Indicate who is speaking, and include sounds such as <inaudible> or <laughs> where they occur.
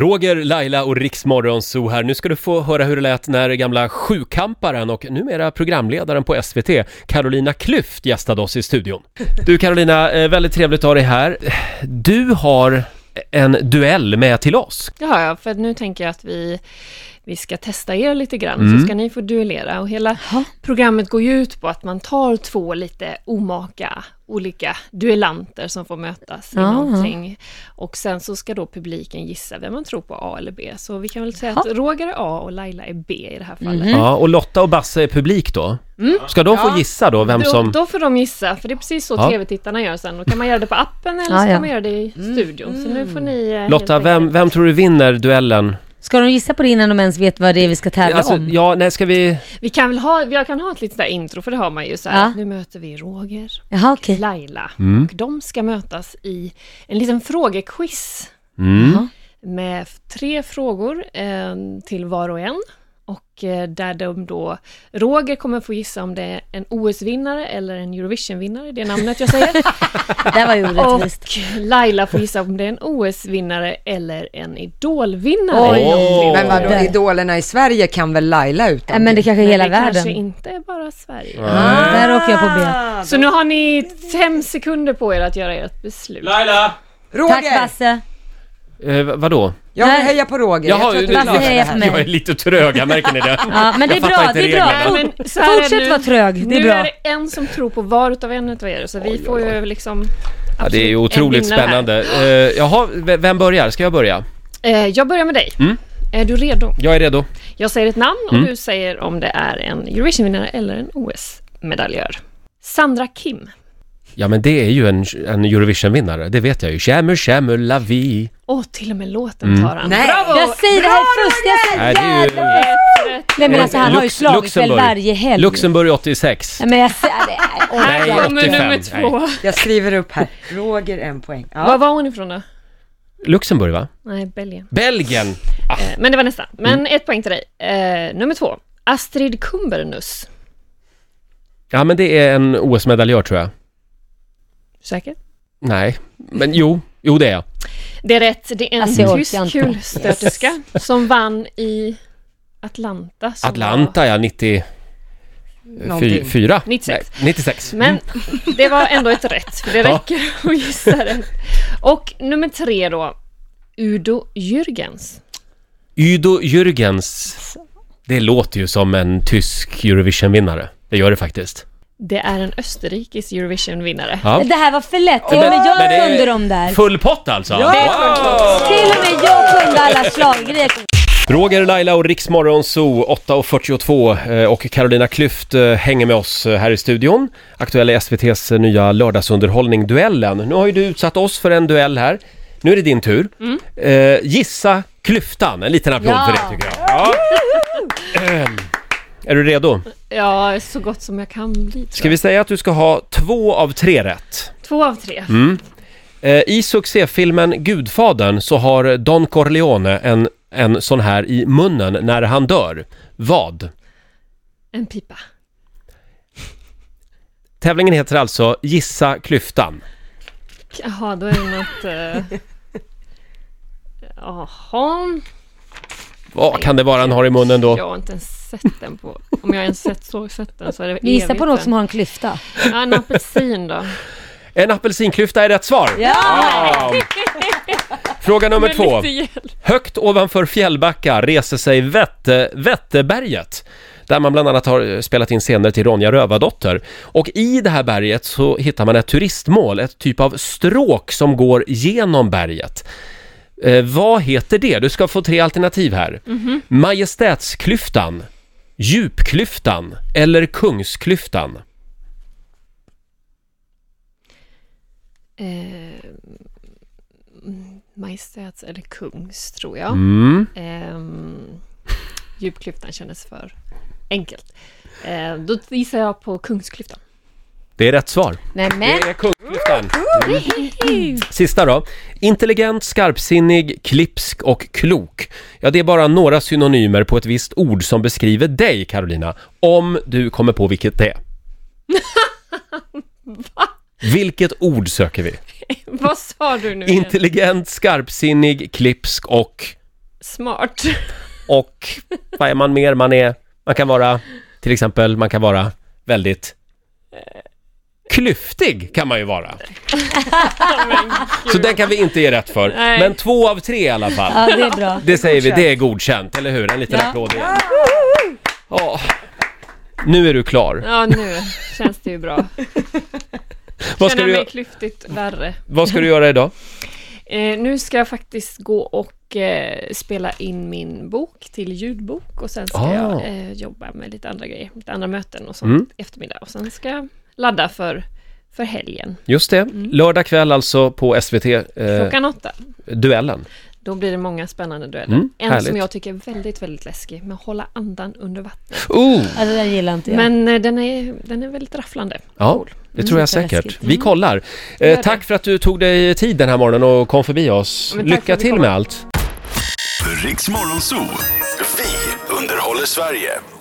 Speaker 1: Roger, Laila och Riksmorgonzoo här. Nu ska du få höra hur det lät när gamla sjukamparen och numera programledaren på SVT, Carolina Klüft, gästade oss i studion. Du Carolina, eh, väldigt trevligt att ha dig här. Du har en duell med till oss.
Speaker 2: Ja, ja, för nu tänker jag att vi, vi ska testa er lite grann,
Speaker 1: Mm.
Speaker 2: så ska ni få duellera. Och hela programmet går ju ut på att man tar två lite omaka olika duellanter som får mötas i
Speaker 3: Ja.
Speaker 2: någonting. Och sen så ska då publiken gissa vem man tror på, A eller B. Så vi kan väl säga att Roger är A och Laila är B i det här fallet.
Speaker 3: Mhm.
Speaker 1: Ja, och Lotta och Basse är publik då.
Speaker 2: Mm.
Speaker 1: Ska de få
Speaker 2: Ja.
Speaker 1: gissa då vem
Speaker 2: då,
Speaker 1: som...
Speaker 2: då får de gissa, för det är precis så
Speaker 1: Ja.
Speaker 2: tv-tittarna gör sen. Då kan man göra det på appen eller så
Speaker 3: Ja, ja. Mm.
Speaker 2: kan man göra det i studion. Så nu får ni... eh, helt
Speaker 1: Lotta,
Speaker 2: enkelt-
Speaker 1: vem, vem tror du vinner duellen?
Speaker 3: Ska de gissa på det innan de ens vet vad det är vi ska tävla
Speaker 1: Alltså,
Speaker 3: om?
Speaker 1: ja, nej, ska vi...
Speaker 2: Vi kan väl ha, jag kan ha ett litet där intro, för det har man ju så här.
Speaker 3: Ja.
Speaker 2: att Nu möter vi Roger
Speaker 3: Jaha,
Speaker 2: och
Speaker 3: okej.
Speaker 2: Laila.
Speaker 1: Mm.
Speaker 2: Och de ska mötas i en liten frågequiz
Speaker 1: Mm.
Speaker 2: med f- tre frågor eh, till var och en. Och eh, där de då, Roger kommer få gissa om det är en OS-vinnare eller en Eurovision-vinnare, det är namnet jag säger.
Speaker 3: <laughs> Det där var ju orättvist.
Speaker 2: och Laila får gissa om det är en OS-vinnare eller en Idol-vinnare.
Speaker 3: Oj.
Speaker 1: Åh.
Speaker 4: Men vadå,
Speaker 3: Där.
Speaker 4: idolerna i Sverige kan väl Laila
Speaker 3: Nej,
Speaker 4: utan?
Speaker 3: men det kanske är
Speaker 2: Men
Speaker 3: hela
Speaker 2: det
Speaker 3: världen.
Speaker 2: kanske inte är bara Sverige.
Speaker 3: Ah, där åker jag på B.
Speaker 4: Ah!
Speaker 2: Så nu har ni fem sekunder på er att göra ert beslut.
Speaker 1: Laila!
Speaker 3: Tack
Speaker 4: Roger!
Speaker 3: Basse.
Speaker 1: Eh, vadå?
Speaker 4: Jag
Speaker 3: Nej.
Speaker 4: vill heja på Roger.
Speaker 1: Jaha,
Speaker 4: jag tror att
Speaker 1: du-
Speaker 4: du klarar
Speaker 3: Basse
Speaker 4: det
Speaker 3: hejar på
Speaker 4: här.
Speaker 3: mig.
Speaker 1: Jag är lite trög, jag märker ni det?
Speaker 3: Ja, men det är
Speaker 1: Jag fattar
Speaker 3: bra,
Speaker 1: inte
Speaker 3: det är bra.
Speaker 1: reglerna.
Speaker 3: Fort, fortsätt vara trög, det är
Speaker 2: nu
Speaker 3: bra.
Speaker 2: är det en som tror på var utav en utav er, så vi får ju liksom...
Speaker 1: Ja, det är ju
Speaker 2: absolut en
Speaker 1: otroligt
Speaker 2: vinnare här.
Speaker 1: spännande. Eh, jaha, v- vem börjar? Ska jag börja?
Speaker 2: Eh, jag börjar med dig.
Speaker 1: Mm.
Speaker 2: Är du redo?
Speaker 1: Jag är redo.
Speaker 2: Jag säger ett namn
Speaker 1: Mm.
Speaker 2: och du säger om det är en Eurovision-vinnare eller en OS-medaljör. Sandra Kim.
Speaker 1: Ja, men det är ju en, en Eurovision-vinnare, det vet jag ju. Shamu, shamu, la vie.
Speaker 2: Åh, till och med låten
Speaker 1: Mm.
Speaker 2: tar han.
Speaker 4: Nej.
Speaker 2: Bravo!
Speaker 3: Jag säger det här är fusk, jag säger
Speaker 1: Nej, det är ju...
Speaker 3: Nej men alltså han har ju
Speaker 1: Lux-
Speaker 3: slagit väl varje helg.
Speaker 1: Luxemburg 86.
Speaker 3: Nej men jag säger det. här- Oj.
Speaker 1: Nej,
Speaker 2: Här kommer
Speaker 1: 85.
Speaker 2: nummer två.
Speaker 4: Jag skriver upp här. Roger en poäng.
Speaker 2: Var
Speaker 4: Ja.
Speaker 2: var hon ifrån då?
Speaker 1: Luxemburg, va?
Speaker 2: Nej, Belgien.
Speaker 1: Belgien! Ah,
Speaker 2: Eh, Men det var nästan. Men
Speaker 1: Mm.
Speaker 2: ett poäng till dig. Eh, nummer två. Astrid Kumbernus.
Speaker 1: ja, men det är en OS-medaljör, tror jag.
Speaker 2: Säker?
Speaker 1: Nej, men jo. Jo, det är jag.
Speaker 2: Det är rätt. Det är en
Speaker 3: Alltså, jag orkar
Speaker 2: tysk
Speaker 3: inte.
Speaker 2: kulstöterska som vann i Atlanta. som Var...
Speaker 1: Atlanta, ja. 94?
Speaker 4: Någonting.
Speaker 2: 96.
Speaker 1: Nej, 96.
Speaker 2: Men det var ändå ett rätt, för det räcker att gissa det. Och nummer tre då. Udo Jürgens.
Speaker 1: Udo Jürgens. Det låter ju som en tysk Eurovision-vinnare. Det gör det faktiskt.
Speaker 2: Det är en österrikisk Eurovision-vinnare.
Speaker 1: Ja.
Speaker 3: Det här var för lätt, till och
Speaker 1: Men-
Speaker 3: med jag
Speaker 1: men det är-
Speaker 3: kunde dem där.
Speaker 1: Full pott alltså!
Speaker 3: Till och med jag kunde alla schlagergrejer.
Speaker 1: Roger, Laila och Riksmorgon Zoo 8.42 eh, och Carolina Klüft eh, hänger med oss eh, här i studion. Aktuell i SVTs eh, nya lördagsunderhållning Duellen. Nu har ju du utsatt oss för en duell här. Nu är det din tur. Eh, Gissa klyftan. En liten applåd
Speaker 3: Ja.
Speaker 1: för det tycker jag. Ja. Ehm, Är du redo?
Speaker 2: Ja, så gott som jag kan bli. tror
Speaker 1: Ska vi säga att du ska ha två av tre rätt?
Speaker 2: jag. Två av tre.
Speaker 1: Eh, I succéfilmen Gudfadern så har Don Corleone en, en sån här i munnen när han dör. Vad?
Speaker 2: En pipa.
Speaker 1: Tävlingen heter alltså Gissa klyftan.
Speaker 2: Jaha, då är det något... eh, Jaha,
Speaker 1: Vad kan det vara han har i munnen
Speaker 2: jag
Speaker 1: då?
Speaker 2: har inte ens sett den på... Om jag ens sett, så sett den så är det
Speaker 3: Vi gissar på
Speaker 2: evigt
Speaker 3: något
Speaker 2: sen.
Speaker 3: som har en klyfta.
Speaker 2: Ja, en apelsin då.
Speaker 1: En apelsinklyfta är rätt svar! Wow. Fråga nummer
Speaker 2: Men
Speaker 1: två.
Speaker 2: lite hjälp.
Speaker 1: Högt ovanför Fjällbacka reser sig Vätte, Vätterberget där man bland annat har eh, spelat in scener till Ronja Rövardotter. Och i det här berget så hittar man ett turistmål, ett typ av stråk som går genom berget. Eh, vad heter det? Du ska få tre alternativ här. Majestätsklyftan, Djupklyftan eller Kungsklyftan?
Speaker 2: Eh, mm, Majestäts eller kungs, tror jag.
Speaker 1: Mm.
Speaker 2: Ehm, djupklyftan kändes för enkelt. Eh, då gissar jag på kungsklyftan.
Speaker 1: Det är rätt svar.
Speaker 3: Nej men,
Speaker 1: Det är Kungsklyftan. Mm. Sista då. Intelligent, skarpsinnig, klipsk och klok. Ja, det är bara några synonymer på ett visst ord som beskriver dig, Carolina. Om du kommer på vilket det är. Vilket ord söker vi?
Speaker 2: <laughs> Vad sa du nu igen?
Speaker 1: Intelligent, skarpsinnig, klipsk och
Speaker 2: Smart.
Speaker 1: Och vad är man mer? Man är, man kan vara, till exempel, man kan vara väldigt eh, klyftig kan man ju vara. Så den kan vi inte ge rätt för.
Speaker 2: Nej.
Speaker 1: Men två av tre i alla fall.
Speaker 3: Ja, det är bra.
Speaker 1: Det säger vi, det är godkänt, eller hur? En liten applåd igen. Ja. Nu är du klar.
Speaker 2: <laughs> Ja, nu känns det ju bra.
Speaker 1: Vad ska, du,
Speaker 2: Känner mig
Speaker 1: gö-
Speaker 2: klyftigt värre.
Speaker 1: vad ska du göra idag?
Speaker 2: Eh, nu ska jag faktiskt gå och eh, spela in min bok till ljudbok och sen ska
Speaker 1: Ah. Mm.
Speaker 2: jag eh, jobba med lite andra grejer, lite andra möten och sånt i eftermiddag. Och sen ska jag ladda för, för helgen,
Speaker 1: Just det, lördag kväll alltså på SVT, eh,
Speaker 2: Mm. klockan åtta.
Speaker 1: Duellen.
Speaker 2: Då blir det många spännande dueller.
Speaker 1: Mm,
Speaker 2: en
Speaker 1: härligt.
Speaker 2: som jag tycker är väldigt, väldigt läskig, men hålla andan under vatten.
Speaker 1: Ooh.
Speaker 3: Ja, det där gillar inte Alltså, jag.
Speaker 2: Men eh, den är, den är väldigt rafflande.
Speaker 1: Ja,
Speaker 2: Cool.
Speaker 1: det tror jag
Speaker 3: lite
Speaker 1: säkert.
Speaker 3: läskigt.
Speaker 1: Vi kollar. Eh,
Speaker 2: Mm. Gör det.
Speaker 1: tack för att du tog dig tid den här morgonen och kom förbi oss.
Speaker 2: Men tack för
Speaker 1: Lycka
Speaker 2: att vi
Speaker 1: till
Speaker 2: kom.
Speaker 1: med allt.
Speaker 5: Riks Morgonzoo. Vi underhåller Sverige.